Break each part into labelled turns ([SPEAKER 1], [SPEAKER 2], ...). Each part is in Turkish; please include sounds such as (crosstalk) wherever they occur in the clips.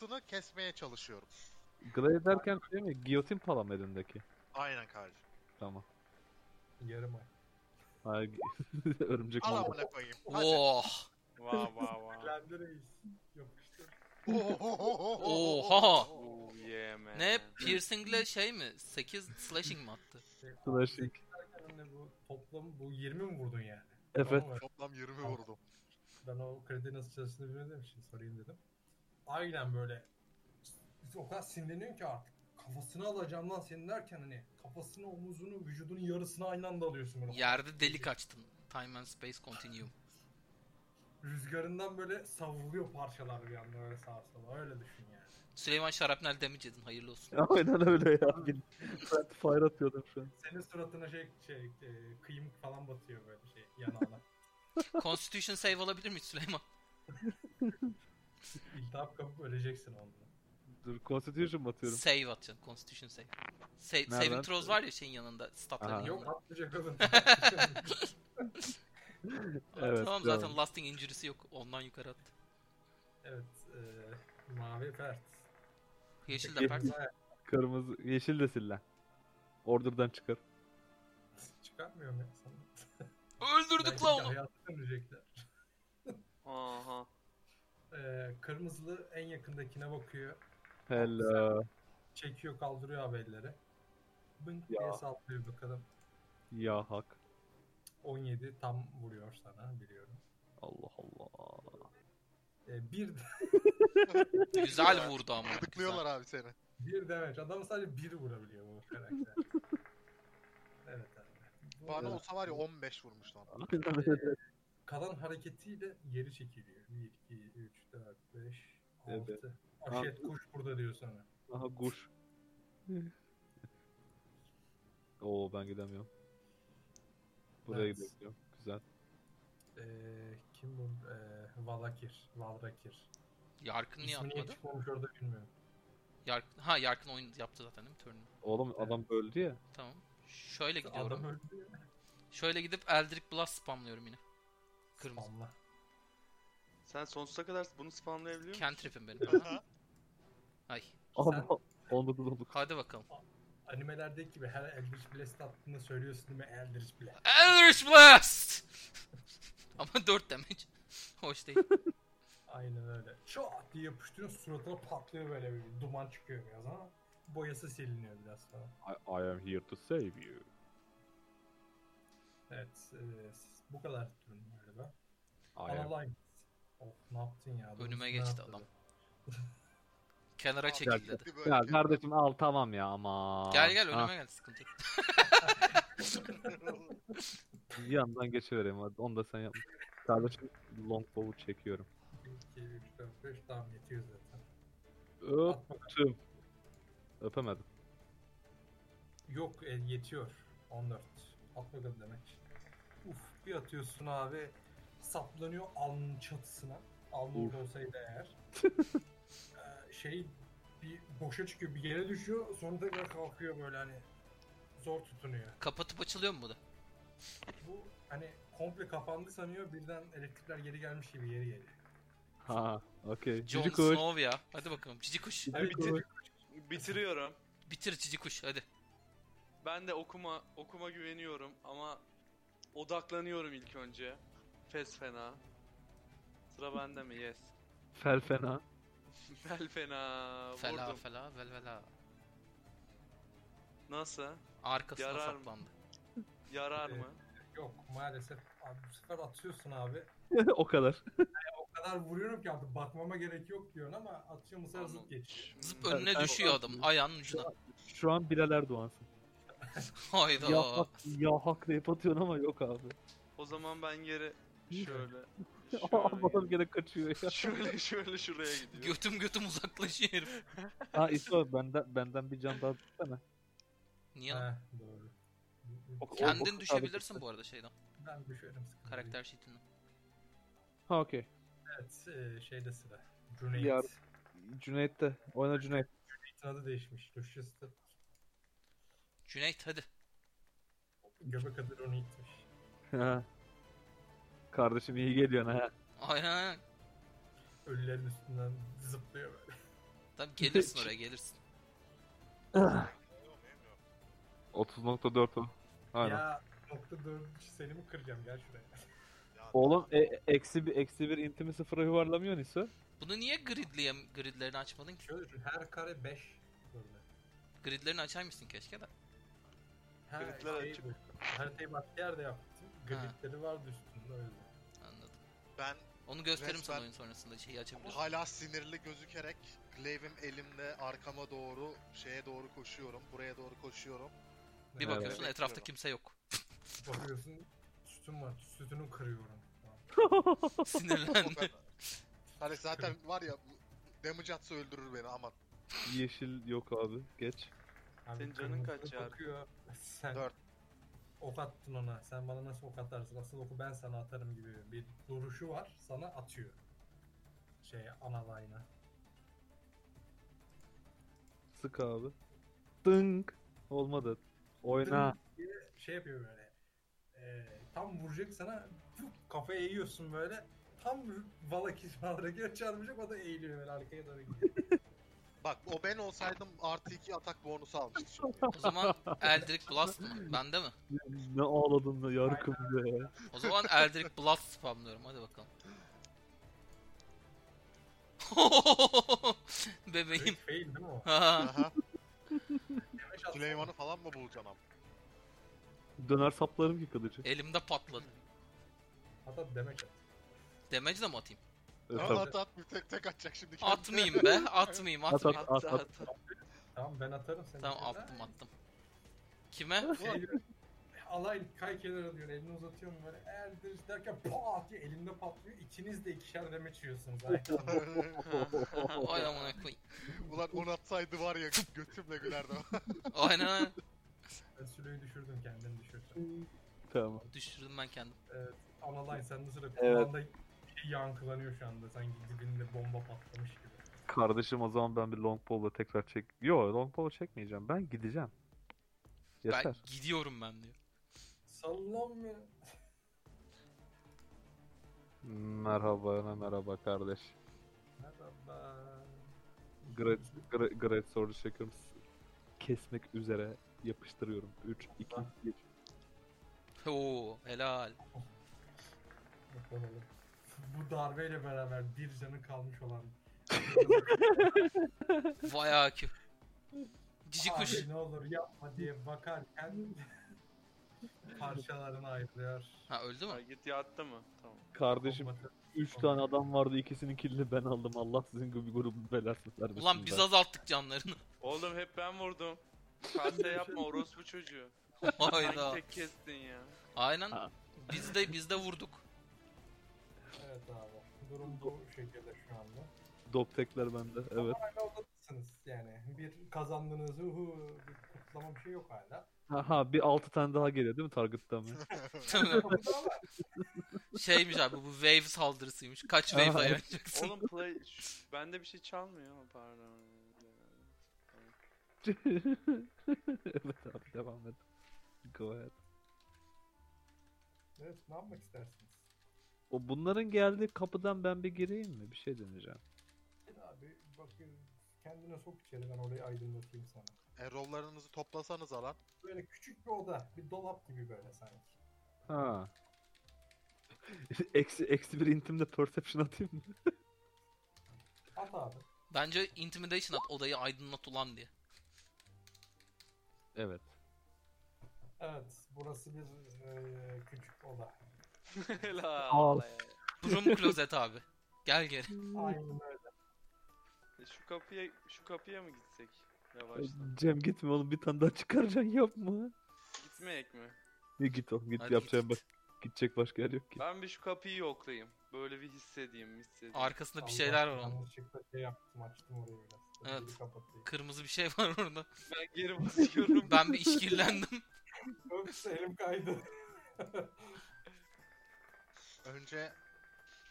[SPEAKER 1] Sını kesmeye çalışıyorum.
[SPEAKER 2] Glaive derken şey mi? Giyotin pala mı elindeki?
[SPEAKER 1] Aynen kardeşim.
[SPEAKER 2] Tamam.
[SPEAKER 3] Yarım ay.
[SPEAKER 2] Hayır, gi- (laughs) örümcek
[SPEAKER 1] Al
[SPEAKER 2] mal.
[SPEAKER 1] amına koyayım. Hadi.
[SPEAKER 2] (laughs)
[SPEAKER 4] Oh!
[SPEAKER 5] Vay vay vay.
[SPEAKER 3] Lendi reis. Yapıştır.
[SPEAKER 4] Oha!
[SPEAKER 5] Oh yeah man.
[SPEAKER 4] Ne? Piercing'le şey mi? 8 slashing mi attı?
[SPEAKER 2] Slashing.
[SPEAKER 3] Yani Şey, bu toplam bu 20 mi vurdun yani?
[SPEAKER 2] Evet.
[SPEAKER 3] Tamam mı?
[SPEAKER 1] Toplam 20 vurdum.
[SPEAKER 3] Ben o kredi nasıl çalıştığını bilmediğim için sorayım dedim. Aynen böyle. O kadar sinirleniyorum ki artık. Kafasını alacağım lan senin derken hani kafasını, omuzunu, vücudunun yarısını aynı anda alıyorsun böyle.
[SPEAKER 4] Yerde delik açtın. Time and space continuum.
[SPEAKER 3] Rüzgarından böyle savruluyor parçalar bir anda öyle sağa sola. Öyle düşün yani.
[SPEAKER 4] Süleyman Şarapnel damage edin.
[SPEAKER 2] (laughs)
[SPEAKER 4] Hayırlı olsun.
[SPEAKER 2] (laughs) Aynen öyle ya. Bil- Ben fire atıyordum şu an.
[SPEAKER 3] Senin suratına şey, şey e, kıyım falan batıyor böyle şey yanağına.
[SPEAKER 4] Constitution save alabilir miyiz Süleyman?
[SPEAKER 3] İltihap kapıp öleceksin onda.
[SPEAKER 2] Dur Constitution mı atıyorum?
[SPEAKER 4] Save atacaksın. Constitution save. Sa- saving throws var ya şeyin yanında. Statların
[SPEAKER 2] Aha.
[SPEAKER 3] Yok
[SPEAKER 4] yanında.
[SPEAKER 3] atmayacak oğlum.
[SPEAKER 2] Evet,
[SPEAKER 4] tamam
[SPEAKER 2] devam.
[SPEAKER 4] zaten lasting injury'si yok. Ondan yukarı attı.
[SPEAKER 3] evet. E, mavi pert.
[SPEAKER 4] Yeşil de pert.
[SPEAKER 2] Kırmızı, yeşil de sillen. Order'dan çıkar.
[SPEAKER 3] Çıkartmıyorum ya sana.
[SPEAKER 4] Öldürdük la onu.
[SPEAKER 3] Hayatı dönecekler.
[SPEAKER 5] Aha.
[SPEAKER 3] E, kırmızılı en yakındakine bakıyor.
[SPEAKER 2] Hello.
[SPEAKER 3] Çekiyor kaldırıyor haberleri. Bınk
[SPEAKER 2] Ya.
[SPEAKER 3] diye sallıyor bakalım.
[SPEAKER 2] Ya hak.
[SPEAKER 3] 17 tam vuruyor sana biliyorum.
[SPEAKER 2] Allah Allah.
[SPEAKER 3] E, bir,
[SPEAKER 4] Güzel vurdu ama. Güzel.
[SPEAKER 1] Gıdıklıyorlar abi seni.
[SPEAKER 3] (laughs) bir demek. Adam sadece bir vurabiliyor bu
[SPEAKER 2] (laughs)
[SPEAKER 3] karakter. evet abi. Bu-
[SPEAKER 1] Bana olsa var ya 15 vurmuş lan.
[SPEAKER 2] Aynen öyle.
[SPEAKER 3] kalan hareketiyle geri çekiliyor. 1, 2, 3, 4, 5, 6.
[SPEAKER 2] Evet.
[SPEAKER 3] Aşet kuş burada diyor sana.
[SPEAKER 2] Aha kuş. Oo ben gidemiyorum. Buraya
[SPEAKER 3] Evet.
[SPEAKER 2] gidebiliyorum. Güzel.
[SPEAKER 3] Ee, kim bu? Ee, Valakir. Valrakir.
[SPEAKER 4] Yarkın niye
[SPEAKER 3] İsmini
[SPEAKER 4] atmadı?
[SPEAKER 3] hiç konuş orada bilmiyorum.
[SPEAKER 4] Yark- ha Yarkın oyun yaptı zaten değil mi? Turnu.
[SPEAKER 2] Oğlum
[SPEAKER 3] Evet.
[SPEAKER 2] adam öldü ya.
[SPEAKER 4] Tamam. Şöyle gidiyorum.
[SPEAKER 3] Adam öldü.
[SPEAKER 4] Şöyle gidip Eldritch Blast spamlıyorum yine. Kırmızı.
[SPEAKER 3] Spamla.
[SPEAKER 5] Sen sonsuza kadar bunu spamlayabiliyor musun?
[SPEAKER 4] Cantrip'im benim. Aha. Ay.
[SPEAKER 2] Ama (laughs) onda da olduk.
[SPEAKER 4] Hadi bakalım.
[SPEAKER 3] Animelerdeki gibi her Eldritch Blast attığında söylüyorsun değil mi? Eldritch Blast.
[SPEAKER 4] Eldritch Blast! (laughs) Ama 4 damage. Hoş değil.
[SPEAKER 3] Aynen öyle. Çat diye yapıştırıyorsun suratına patlıyor böyle bir duman çıkıyor biraz ama boyası siliniyor biraz falan.
[SPEAKER 2] I, I am here to save you.
[SPEAKER 3] Evet. ee, bu kadar durum galiba.
[SPEAKER 2] I am...
[SPEAKER 3] Analyze. Of ne yaptın ya?
[SPEAKER 4] Önüme
[SPEAKER 3] Doğrusu ne
[SPEAKER 4] geçti
[SPEAKER 3] yaptı
[SPEAKER 4] adam.
[SPEAKER 3] be?
[SPEAKER 4] Kenara çekil dedi.
[SPEAKER 1] Böyle
[SPEAKER 2] Ya
[SPEAKER 1] kenara-
[SPEAKER 2] kardeşim al tamam ya ama.
[SPEAKER 4] Gel gel
[SPEAKER 2] Ha,
[SPEAKER 4] önüme gel sıkıntı yok.
[SPEAKER 2] Bir yandan geçivereyim hadi onu da sen (laughs) yap. Kardeşim longbow'u çekiyorum.
[SPEAKER 3] 2, 3, 4, 5 tamam yetiyor zaten.
[SPEAKER 2] Öptüm. Öpemedim.
[SPEAKER 3] Yok e, yetiyor. 14. At bakalım demek. Uf bir atıyorsun abi. Saplanıyor alnın çatısına. Alnı
[SPEAKER 2] Uf.
[SPEAKER 3] orada olsaydı eğer. Ee, şey bir boşa çıkıyor bir yere düşüyor sonra tekrar kalkıyor böyle hani zor tutunuyor.
[SPEAKER 4] Kapatıp açılıyor mu bu da?
[SPEAKER 3] Bu hani komple kapandı sanıyor birden elektrikler geri gelmiş gibi geri geliyor.
[SPEAKER 2] Ha, okey.
[SPEAKER 4] Jon
[SPEAKER 2] Cici kuş.
[SPEAKER 4] Snow ya. Hadi bakalım cici kuş.
[SPEAKER 5] Ay,
[SPEAKER 2] Cici kuş.
[SPEAKER 5] bitir- bitiriyorum.
[SPEAKER 4] Bitir cici kuş hadi.
[SPEAKER 5] Ben de okuma okuma güveniyorum ama odaklanıyorum ilk önce. Fes fena. Sıra bende mi? Yes. (laughs)
[SPEAKER 2] Fel fena. (laughs)
[SPEAKER 5] Fel fena.
[SPEAKER 4] Fela
[SPEAKER 5] Vurdum.
[SPEAKER 4] fela velvela.
[SPEAKER 5] Nasıl?
[SPEAKER 4] Arkasına
[SPEAKER 5] Yarar mı?
[SPEAKER 4] saklandı.
[SPEAKER 5] Yarar
[SPEAKER 3] Evet.
[SPEAKER 5] mı?
[SPEAKER 3] Yok maalesef abi bu sefer atıyorsun abi.
[SPEAKER 2] o kadar.
[SPEAKER 3] O kadar vuruyorum ki artık bakmama gerek yok diyorsun ama atıyor bu sefer zıp
[SPEAKER 5] Anladım.
[SPEAKER 3] geçiyor.
[SPEAKER 4] Zıp
[SPEAKER 5] Hmm.
[SPEAKER 4] önüne
[SPEAKER 2] Ben-
[SPEAKER 4] düşüyor adamın ayağının ucuna.
[SPEAKER 2] Şu an Bilaler Doğansın. Ya
[SPEAKER 4] Hayda.
[SPEAKER 2] hak, ya hak deyip atıyorsun ama yok abi.
[SPEAKER 5] O zaman ben geri şöyle.
[SPEAKER 2] Şey- (laughs) Adam
[SPEAKER 5] şöyle,
[SPEAKER 2] gene kaçıyor (laughs) ya.
[SPEAKER 5] (laughs) şöyle şöyle şuraya gidiyor.
[SPEAKER 4] Götüm götüm uzaklaşıyor herif.
[SPEAKER 2] ha İso benden, benden bir can daha düşsene.
[SPEAKER 4] Niye lan?
[SPEAKER 3] Heh, doğru.
[SPEAKER 2] O- o- o-
[SPEAKER 4] Kendin
[SPEAKER 2] abi-
[SPEAKER 4] düşebilirsin bu arada şeyden.
[SPEAKER 3] Ben düşerim sıkıntı değil.
[SPEAKER 4] Karakter sheetinden.
[SPEAKER 2] Ha okey.
[SPEAKER 3] Evet e, şeyde sıra. Cüneyt.
[SPEAKER 2] Yar- Cüneyt de. Oyna Cüneyt.
[SPEAKER 3] Cüneyt'in adı değişmiş. Lucius'tu.
[SPEAKER 4] Cüneyt hadi.
[SPEAKER 3] Göbek adı Ronit'miş.
[SPEAKER 2] Ha. (laughs) Kardeşim iyi geliyorsun ha.
[SPEAKER 4] Aynen aynen.
[SPEAKER 3] Ölülerin üstünden zıplıyor böyle.
[SPEAKER 4] Tamam gelirsin oraya gelirsin.
[SPEAKER 2] (laughs) 30.4 o. Aynen.
[SPEAKER 3] Ya nokta dört seni mi kıracağım gel şuraya.
[SPEAKER 2] Oğlum e- e- eksi bir eksi bir intimi sıfıra yuvarlamıyor ise
[SPEAKER 4] Bunu niye gridliye, gridlerini açmadın ki?
[SPEAKER 3] Şöyle düşün her kare 5 böyle.
[SPEAKER 4] Gridlerini açarmışsın keşke de.
[SPEAKER 3] Her
[SPEAKER 5] Gridler
[SPEAKER 3] şeyi
[SPEAKER 5] açık.
[SPEAKER 3] böyle. Haritayı başka yerde yaptım. Gridleri vardı üstünde öyle.
[SPEAKER 4] Anladım.
[SPEAKER 1] Ben
[SPEAKER 4] Onu gösteririm sana
[SPEAKER 1] Resmen-
[SPEAKER 4] oyun sonrasında şeyi açabilirim.
[SPEAKER 1] hala sinirli gözükerek glaive'im elimle arkama doğru şeye doğru koşuyorum. Buraya doğru (laughs) koşuyorum.
[SPEAKER 4] Bir
[SPEAKER 2] Evet.
[SPEAKER 4] bakıyorsun etrafta kimse yok.
[SPEAKER 2] (laughs)
[SPEAKER 3] Bakıyorsun sütün var. Sütünü kırıyorum. falan.
[SPEAKER 1] O
[SPEAKER 4] Sinirlendi.
[SPEAKER 1] kadar. hani zaten var ya bu- damage atsa öldürür beni aman.
[SPEAKER 2] yeşil yok abi. Geç.
[SPEAKER 3] Abi
[SPEAKER 5] Senin canın
[SPEAKER 3] kırmızı
[SPEAKER 5] kaç ya?
[SPEAKER 3] kokuyor. Sen
[SPEAKER 1] Dört.
[SPEAKER 3] ok attın ona. Sen bana nasıl ok atarsın? Asıl oku ben sana atarım gibi bir duruşu var. Sana atıyor. Şey ana line'a.
[SPEAKER 2] Sık abi. Dınk. Olmadı. Oyna.
[SPEAKER 3] şey yapıyor böyle. Ee, tam vuracak sana puf, kafaya eğiyorsun böyle. Tam Valakis Valakis'e çarpacak o da eğiliyor böyle arkaya doğru gidiyor.
[SPEAKER 1] Bak o ben olsaydım artı iki atak bonusu almıştı (laughs) şimdi.
[SPEAKER 4] o zaman Eldrick Blast mı? Bende mi?
[SPEAKER 2] Ne ağladın da yarkım be.
[SPEAKER 4] O zaman Eldrick Blast spamlıyorum hadi bakalım. (laughs)
[SPEAKER 3] (laughs)
[SPEAKER 4] Bebeğim.
[SPEAKER 3] Direkt fail değil mi o?
[SPEAKER 4] Ha.
[SPEAKER 1] Aha.
[SPEAKER 3] Yavaş atsana.
[SPEAKER 1] Süleyman'ı falan mı bulacaksın ama?
[SPEAKER 2] Döner saplarım ki kılıcı.
[SPEAKER 4] Elimde patladı.
[SPEAKER 3] Hatta demek at.
[SPEAKER 4] Demeci de mi atayım?
[SPEAKER 2] Evet,
[SPEAKER 1] Ama
[SPEAKER 2] tabii.
[SPEAKER 1] At at bir tek tek atacak şimdi. kendini. (laughs)
[SPEAKER 4] Atmayayım be. Atmayayım
[SPEAKER 2] At,
[SPEAKER 4] atmayayım.
[SPEAKER 2] at.
[SPEAKER 5] Hatta hatta.
[SPEAKER 3] Tamam ben atarım seni.
[SPEAKER 4] Tamam attım attım. Kime?
[SPEAKER 3] Şey, alay kay kenara diyor elini uzatıyorum böyle erdir derken pat diye elinde patlıyor ikiniz de ikişer deme çiyorsunuz.
[SPEAKER 4] Ay amına koyayım.
[SPEAKER 1] Ulan on atsaydı var ya götümle gülerdim.
[SPEAKER 4] Aynen aynen.
[SPEAKER 3] ben sülüğü düşürdüm kendimi düşürdüm.
[SPEAKER 2] (laughs) Tamam.
[SPEAKER 4] Düşürdüm ben kendim.
[SPEAKER 3] Analay sen de sıra
[SPEAKER 2] Evet.
[SPEAKER 3] kumanda şey yankılanıyor şu anda sanki dibinde bomba patlamış gibi.
[SPEAKER 2] Kardeşim o zaman ben bir long pole'la tekrar çek. Yo long pole çekmeyeceğim. Ben gideceğim. Yeter.
[SPEAKER 4] Ben gidiyorum ben diyor.
[SPEAKER 3] Sallanmıyor.
[SPEAKER 2] Merhaba, merhaba kardeş.
[SPEAKER 3] Merhaba.
[SPEAKER 2] Great, great, great sword'u çekiyorum. Kesmek üzere yapıştırıyorum. 3, 2,
[SPEAKER 3] Allah.
[SPEAKER 2] 1.
[SPEAKER 4] Oo helal.
[SPEAKER 3] Bakalım. Bu darbeyle beraber bir canı kalmış olan
[SPEAKER 4] Vay akü. Cici kuş.
[SPEAKER 3] Abi ne olur yapma diye bakarken (laughs) parçalarını ayırıyor.
[SPEAKER 4] Ha öldü
[SPEAKER 5] Ha,
[SPEAKER 4] mü?
[SPEAKER 5] git yattı mı? Tamam.
[SPEAKER 2] Kardeşim
[SPEAKER 3] Kombatı-
[SPEAKER 2] 3 tane adam vardı. ikisinin killini ben aldım. Allah sizin gibi grubun belasını vermesin.
[SPEAKER 4] Ulan biz
[SPEAKER 2] be.
[SPEAKER 4] azalttık canlarını.
[SPEAKER 2] (laughs)
[SPEAKER 5] Oğlum hep ben vurdum. Kase yapma orospu çocuğu. Sanki
[SPEAKER 4] Hayda.
[SPEAKER 5] tek kestin ya.
[SPEAKER 4] Aynen.
[SPEAKER 2] Ha.
[SPEAKER 4] Biz de biz de vurduk.
[SPEAKER 3] Evet abi. Durum bu şekilde şu anda.
[SPEAKER 2] Doptekler bende. Evet.
[SPEAKER 3] Hala odadasınız yani. Bir kazandınız. Uhu, bir kutlama bir şey yok hala.
[SPEAKER 2] Aha bir 6 tane daha geliyor değil mi target'tan
[SPEAKER 4] (laughs)
[SPEAKER 2] mı?
[SPEAKER 4] Şeymiş abi bu wave saldırısıymış. Kaç
[SPEAKER 2] Aha,
[SPEAKER 4] wave
[SPEAKER 2] evet.
[SPEAKER 4] ayıracaksın?
[SPEAKER 5] Oğlum play... Şş, Bende bir şey çalmıyor ama pardon.
[SPEAKER 2] evet abi devam et. Go ahead.
[SPEAKER 3] Evet ne yapmak istersiniz?
[SPEAKER 2] O bunların geldiği kapıdan ben bir gireyim mi? Bir şey deneyeceğim.
[SPEAKER 3] Gel Abi bak kendine sok içeri ben orayı aydınlatayım sana.
[SPEAKER 1] (laughs) e, rollarınızı toplasanız alan.
[SPEAKER 3] Böyle küçük bir oda. Bir dolap gibi böyle sanki.
[SPEAKER 2] Ha. (laughs) eksi, eksi bir intimle perception atayım mı?
[SPEAKER 3] At abi.
[SPEAKER 4] Bence intimidation at odayı aydınlat ulan diye.
[SPEAKER 2] Evet.
[SPEAKER 3] Evet burası bir eee, küçük oda.
[SPEAKER 5] Helal.
[SPEAKER 2] Al.
[SPEAKER 4] Broom closet abi. Gel geri.
[SPEAKER 3] Aynen öyle.
[SPEAKER 5] E, Şu kapıya şu kapıya mı gitsek? Yavaştan.
[SPEAKER 2] Cem gitme oğlum bir tane daha çıkaracaksın yapma.
[SPEAKER 5] Gitmeyek mi?
[SPEAKER 2] Ya git oğlum git
[SPEAKER 4] Hadi
[SPEAKER 2] yapacağım
[SPEAKER 4] git.
[SPEAKER 2] bak. Gidecek başka yer yok ki.
[SPEAKER 5] Ben bir şu kapıyı yoklayayım. Böyle bir hissedeyim, hissedeyim.
[SPEAKER 4] Arkasında bir şeyler var
[SPEAKER 3] Allah,
[SPEAKER 4] onun.
[SPEAKER 3] Yanlışlıkla şey yaptım açtım orayı biraz.
[SPEAKER 4] Evet.
[SPEAKER 3] Geri kapatayım.
[SPEAKER 4] Kırmızı bir şey var orada.
[SPEAKER 5] Ben geri basıyorum.
[SPEAKER 3] (laughs)
[SPEAKER 4] Ben bir işkillendim. (laughs)
[SPEAKER 3] Öps elim kaydı. (laughs)
[SPEAKER 1] Önce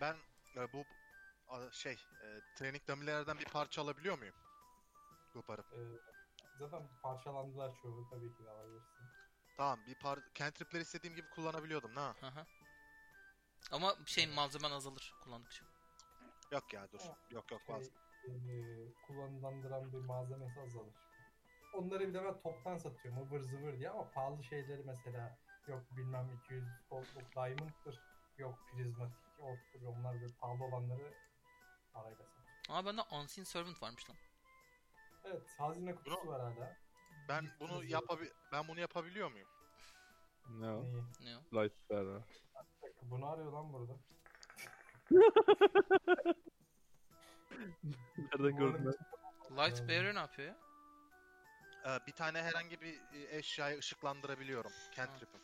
[SPEAKER 1] ben e, bu a, şey e, training dummies bir parça alabiliyor muyum? Koparıp.
[SPEAKER 3] Ee, zaten parçalandılar çoğu tabii ki de alabilirsin.
[SPEAKER 1] Tamam bir par cantripleri istediğim gibi kullanabiliyordum ha.
[SPEAKER 4] Aha. Ama şeyin malzemen azalır kullandıkça.
[SPEAKER 1] Yok ya dur.
[SPEAKER 3] Tamam.
[SPEAKER 1] Yok yok
[SPEAKER 3] Şey,
[SPEAKER 1] vaz.
[SPEAKER 3] ee, eee, kullanılandıran bir malzemesi azalır. Onları bile ben toptan satıyorum ıvır zıvır diye ama pahalı şeyleri mesela yok bilmem 200 voltluk diamond'tır yok prizmatik orttur onlar böyle pahalı olanları parayla satıyorum.
[SPEAKER 4] Ama bende Unseen Servant varmış lan.
[SPEAKER 3] Evet hazine kutusu
[SPEAKER 1] Bunu-
[SPEAKER 3] var hala.
[SPEAKER 1] Ben bunu yapabi ben bunu yapabiliyor muyum?
[SPEAKER 2] Ne o?
[SPEAKER 3] Neyi?
[SPEAKER 4] Ne o?
[SPEAKER 2] Lightler ha.
[SPEAKER 3] Bir dakika, Bunu arıyor lan burada.
[SPEAKER 2] Nereden gördün lan?
[SPEAKER 4] Light Bearer ne yapıyor ya?
[SPEAKER 1] Ee, bir tane herhangi bir e, eşyayı ışıklandırabiliyorum. Cantrip'im.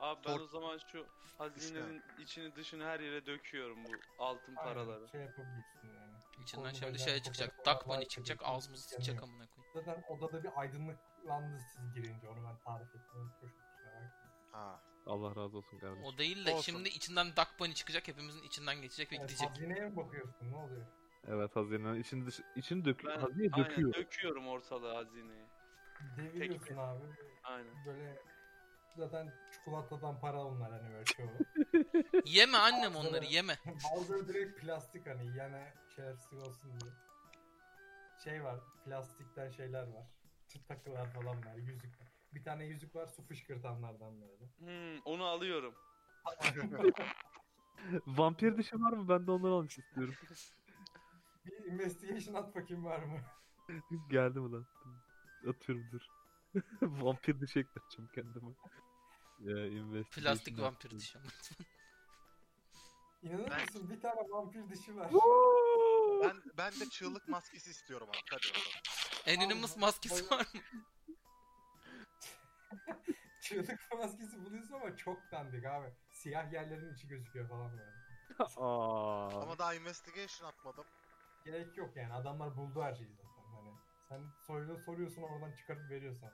[SPEAKER 5] Abi ben
[SPEAKER 1] Tor-
[SPEAKER 5] o zaman şu hazinenin içini dışını her yere döküyorum bu altın paraları.
[SPEAKER 3] Paraları. Şey yapabilirsin yani.
[SPEAKER 4] İçinden
[SPEAKER 3] Kolunu
[SPEAKER 4] şimdi
[SPEAKER 3] böyle
[SPEAKER 4] şey
[SPEAKER 3] yapıp
[SPEAKER 4] çıkacak.
[SPEAKER 3] böyle
[SPEAKER 4] Duck Bunny
[SPEAKER 3] light
[SPEAKER 4] çıkacak.
[SPEAKER 3] ediyorsun,
[SPEAKER 4] Ağzımızı sıçacak
[SPEAKER 3] yanıyor.
[SPEAKER 4] amına koyayım.
[SPEAKER 3] Zaten odada bir aydınlıklandı siz girince onu ben tarif ettim. Hoş kusura bakma.
[SPEAKER 1] Ha.
[SPEAKER 2] Allah razı olsun kardeşim.
[SPEAKER 4] O değil de
[SPEAKER 1] Olsun.
[SPEAKER 4] şimdi içinden Duck Bunny çıkacak. Hepimizin içinden geçecek ve
[SPEAKER 3] Evet,
[SPEAKER 4] gidecek.
[SPEAKER 3] hazineye mi bakıyorsun ne oluyor?
[SPEAKER 2] Evet hazine içini dış içini döküyor.
[SPEAKER 5] Ben
[SPEAKER 2] Hazine
[SPEAKER 5] aynen
[SPEAKER 2] döküyor.
[SPEAKER 5] döküyorum ortalığı hazineyi.
[SPEAKER 3] Deviriyorsun
[SPEAKER 5] Peki.
[SPEAKER 3] abi.
[SPEAKER 5] Aynen.
[SPEAKER 3] Böyle zaten çikolatadan para onlar hani böyle çoğu.
[SPEAKER 4] Yeme annem onları yeme.
[SPEAKER 3] Bazıları direkt plastik hani yani şerefsiz olsun diye. Şey var plastikten şeyler var. Tüt takılar falan var yüzük var. Bir tane yüzük var su fışkırtanlardan böyle.
[SPEAKER 5] Hmm, onu alıyorum.
[SPEAKER 2] (laughs) Vampir dişi var mı? Ben de onları almak istiyorum.
[SPEAKER 3] Bir investigation at bakayım var mı? (laughs)
[SPEAKER 2] Geldi mi lan? Atıyorum dur. (laughs) vampir dişi ekleteceğim kendime. Ya, investigation
[SPEAKER 4] Plastik
[SPEAKER 2] yaptım.
[SPEAKER 4] vampir dişi. (laughs)
[SPEAKER 3] İnanır
[SPEAKER 1] Ben-
[SPEAKER 3] mısın bir tane vampir dişi var.
[SPEAKER 2] Woo!
[SPEAKER 1] Ben ben de çığlık maskesi istiyorum abi. Hadi bakalım.
[SPEAKER 4] Anonymous maskesi var mı?
[SPEAKER 3] Çığlık maskesi buluyorsun ama çok dandik abi. Siyah yerlerin içi gözüküyor falan böyle.
[SPEAKER 2] Aa.
[SPEAKER 1] Ama daha investigation atmadım.
[SPEAKER 3] Gerek yok yani adamlar buldu her şeyi zaten hani. Sen soruyor, soruyorsun oradan çıkarıp veriyorsan.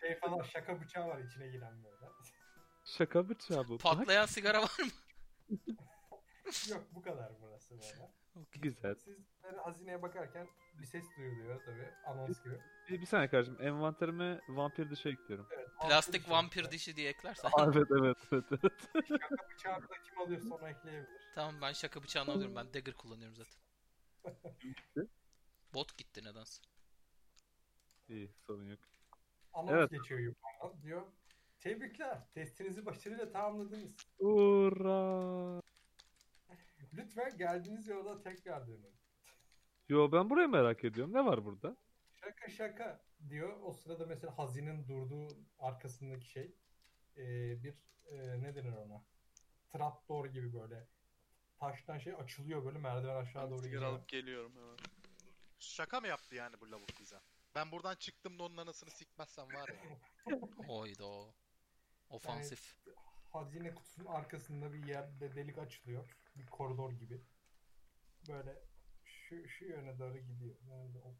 [SPEAKER 3] şey falan şaka bıçağı var içine giren böyle. (laughs)
[SPEAKER 2] Şaka bıçağı bu. Bak,
[SPEAKER 4] Patlayan sigara var mı?
[SPEAKER 3] yok bu kadar burası böyle.
[SPEAKER 2] güzel.
[SPEAKER 3] Siz böyle hazineye bakarken bir ses duyuluyor tabi anons gibi.
[SPEAKER 2] Bir, bir saniye kardeşim. Envanterime vampir dişi ekliyorum.
[SPEAKER 4] Plastik vampir
[SPEAKER 3] dişi.
[SPEAKER 4] dişi diye eklersen.
[SPEAKER 2] evet evet evet. evet.
[SPEAKER 3] Şaka bıçağı da kim alıyorsa ona ekleyebilir.
[SPEAKER 4] Tamam ben şaka bıçağını alıyorum. Ben dagger
[SPEAKER 3] (laughs)
[SPEAKER 4] kullanıyorum zaten. Bot gitti nedense.
[SPEAKER 2] İyi sorun yok.
[SPEAKER 3] Anons
[SPEAKER 2] Evet.
[SPEAKER 3] geçiyor yukarıdan diyor. Tebrikler testinizi başarıyla tamamladınız.
[SPEAKER 2] Ura.
[SPEAKER 3] Lütfen geldiğiniz yolda tekrar dönün.
[SPEAKER 2] Yo ben burayı merak ediyorum. Ne var burada?
[SPEAKER 3] Şaka şaka diyor. O sırada mesela hazinin durduğu arkasındaki şey eee, bir eee, ne denir ona? Trapdoor gibi böyle taştan şey açılıyor böyle merdiven aşağı
[SPEAKER 5] Ben
[SPEAKER 3] doğru
[SPEAKER 5] sigara
[SPEAKER 3] gidiyor.
[SPEAKER 5] alıp geliyorum hemen.
[SPEAKER 1] Şaka mı yaptı yani bu lavuk bize? Ben buradan çıktım da onun anasını sikmezsem var ya.
[SPEAKER 4] Oyda. Ofansif.
[SPEAKER 3] Hazine kutusunun arkasında bir yerde delik açılıyor. Bir koridor gibi. Böyle şu, şu yöne doğru gidiyor. Nerede ok?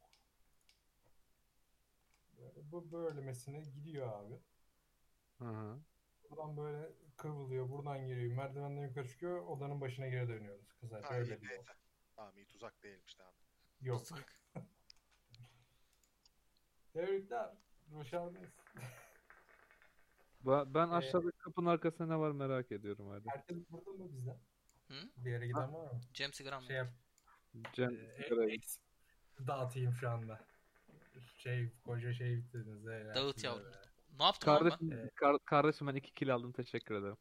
[SPEAKER 3] Böyle, bu böylemesine gidiyor abi.
[SPEAKER 2] Hı hı.
[SPEAKER 3] Buradan böyle kıvrılıyor, buradan giriyor, merdivenden yukarı çıkıyor, odanın başına geri dönüyoruz kızlar.
[SPEAKER 1] Ha,
[SPEAKER 3] Böyle
[SPEAKER 1] iyi
[SPEAKER 3] bir yol.
[SPEAKER 1] neyse. Tamam iyi tuzak değilmiş tamam.
[SPEAKER 3] Yok. (laughs) Tebrikler. Başardınız.
[SPEAKER 2] Ba- Ben
[SPEAKER 3] Ee,
[SPEAKER 2] aşağıdaki kapının arkasında ne var merak ediyorum hadi.
[SPEAKER 3] Herkes burada mı bizden?
[SPEAKER 4] Hı?
[SPEAKER 3] Bir yere giden var mı?
[SPEAKER 4] Cem sigara mı?
[SPEAKER 3] Şey yap.
[SPEAKER 2] Cem
[SPEAKER 3] e,
[SPEAKER 2] sigara-
[SPEAKER 3] e, dağıtayım şu anda. Şey, koca şey bitirdiniz. he,
[SPEAKER 4] Dağıt
[SPEAKER 3] ya.
[SPEAKER 4] yavrum. Ne yaptın oğlum ben?
[SPEAKER 2] Kardeşim, kar- kardeşim ben iki kilo aldım teşekkür ederim.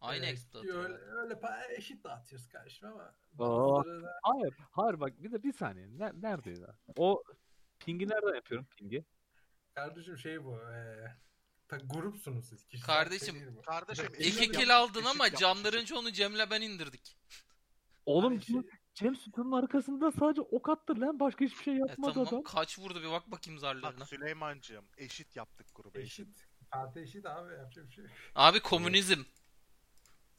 [SPEAKER 4] Aynı
[SPEAKER 3] Evet,
[SPEAKER 4] explode.
[SPEAKER 3] Öyle,
[SPEAKER 4] yapıyor.
[SPEAKER 3] öyle pa- eşit dağıtıyoruz kardeşim ama.
[SPEAKER 2] Aa.
[SPEAKER 3] bazıları da-
[SPEAKER 2] Hayır, hayır bak bir de bir saniye. Ne- neredeydi? ha? O pingi nereden yapıyorum pingi?
[SPEAKER 3] Kardeşim şey bu. E, ta, grupsunuz siz. kişisel şey
[SPEAKER 4] Kardeşim,
[SPEAKER 3] değil bu.
[SPEAKER 1] Kardeşim
[SPEAKER 4] İki
[SPEAKER 1] eşit
[SPEAKER 4] kill
[SPEAKER 1] yap-
[SPEAKER 4] aldın
[SPEAKER 1] eşit
[SPEAKER 4] ama
[SPEAKER 1] yapmış, eşit.
[SPEAKER 4] canlarınca onu Cem'le ben indirdik.
[SPEAKER 2] Oğlum
[SPEAKER 3] Hani
[SPEAKER 2] Cem, Cem sütunun arkasında sadece ok attı lan başka hiçbir şey
[SPEAKER 4] E
[SPEAKER 2] yapmadı
[SPEAKER 4] tamam
[SPEAKER 2] adam.
[SPEAKER 4] kaç vurdu bir bak bakayım zarlarına.
[SPEAKER 1] Bak Süleyman'cığım eşit yaptık grubu eşit.
[SPEAKER 3] Eşit. Kartı eşit abi yapacak bir şey. yok.
[SPEAKER 4] Abi komünizm.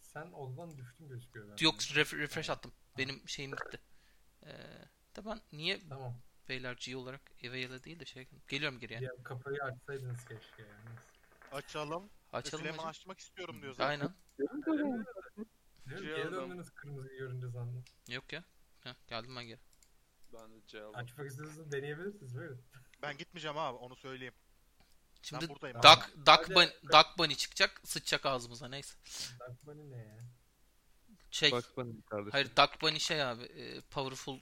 [SPEAKER 3] Sen odadan düştün gözüküyor bende.
[SPEAKER 4] Yok ref- refresh attım. Benim şeyim gitti. Ee, de ben niye
[SPEAKER 3] Tamam.
[SPEAKER 4] beyler G olarak avail'e değil de şey geliyorum geriye.
[SPEAKER 3] Ya kapıyı açsaydınız keşke yani.
[SPEAKER 1] Açalım.
[SPEAKER 4] Açalım
[SPEAKER 1] Süleyman
[SPEAKER 4] hocam.
[SPEAKER 1] açmak istiyorum diyor zaten.
[SPEAKER 4] Aynen.
[SPEAKER 3] Değil mi?
[SPEAKER 5] Şey
[SPEAKER 3] Geri
[SPEAKER 5] aldım.
[SPEAKER 3] döndünüz kırmızıyı görünce sandım.
[SPEAKER 4] Yok ya. Heh, geldim ben geri.
[SPEAKER 5] Ben de C aldım.
[SPEAKER 3] Açmak istiyorsanız deneyebilirsiniz böyle.
[SPEAKER 1] Ben gitmeyeceğim abi onu söyleyeyim.
[SPEAKER 4] Şimdi
[SPEAKER 1] ben buradayım. abi.
[SPEAKER 4] Duck, Duck,
[SPEAKER 3] Hadi.
[SPEAKER 4] Bunny, Duck Bunny çıkacak. Sıçacak ağzımıza neyse.
[SPEAKER 3] Dark Bunny ne ya?
[SPEAKER 4] Şey,
[SPEAKER 2] Bugs Bunny mi kardeşim.
[SPEAKER 4] hayır Duck Bunny şey abi. e, powerful